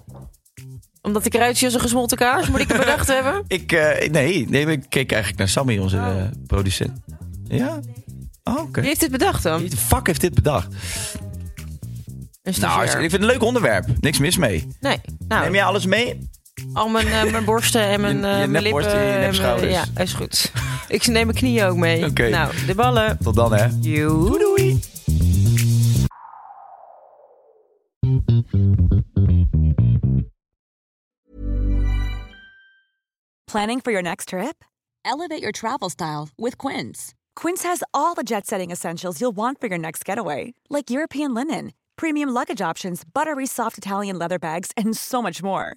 Speaker 5: Omdat ik eruit zie als een gesmolten kaars, moet ik het bedacht hebben?
Speaker 6: Ik, eh, nee, nee, ik keek eigenlijk naar Sammy, onze eh, producent. Ja? Oh, oké.
Speaker 5: Wie heeft dit bedacht dan?
Speaker 6: Wie de fuck heeft dit bedacht?
Speaker 5: Een
Speaker 6: Nou,
Speaker 5: stagiair.
Speaker 6: hartstikke- ik vind het een leuk onderwerp. Niks mis mee.
Speaker 5: Nee.
Speaker 6: Neem
Speaker 5: Nou,
Speaker 6: jij alles mee?
Speaker 5: al mijn, eh, mijn borsten en mijn,
Speaker 6: Je-
Speaker 5: eh,
Speaker 6: je
Speaker 5: mijn lippen.
Speaker 6: nepborsten en je
Speaker 5: en mijn-
Speaker 6: nepschouders.
Speaker 5: Ja, is goed. ik neem mijn knieën ook mee.
Speaker 6: Oké.
Speaker 5: Nou, de ballen.
Speaker 6: Tot dan, hè.
Speaker 5: Doei doei.
Speaker 7: Planning for your next trip? Elevate your travel style with Quince. Quince has all the jet setting essentials you'll want for your next getaway, like European linen, premium luggage options, buttery soft Italian leather bags, and so much more.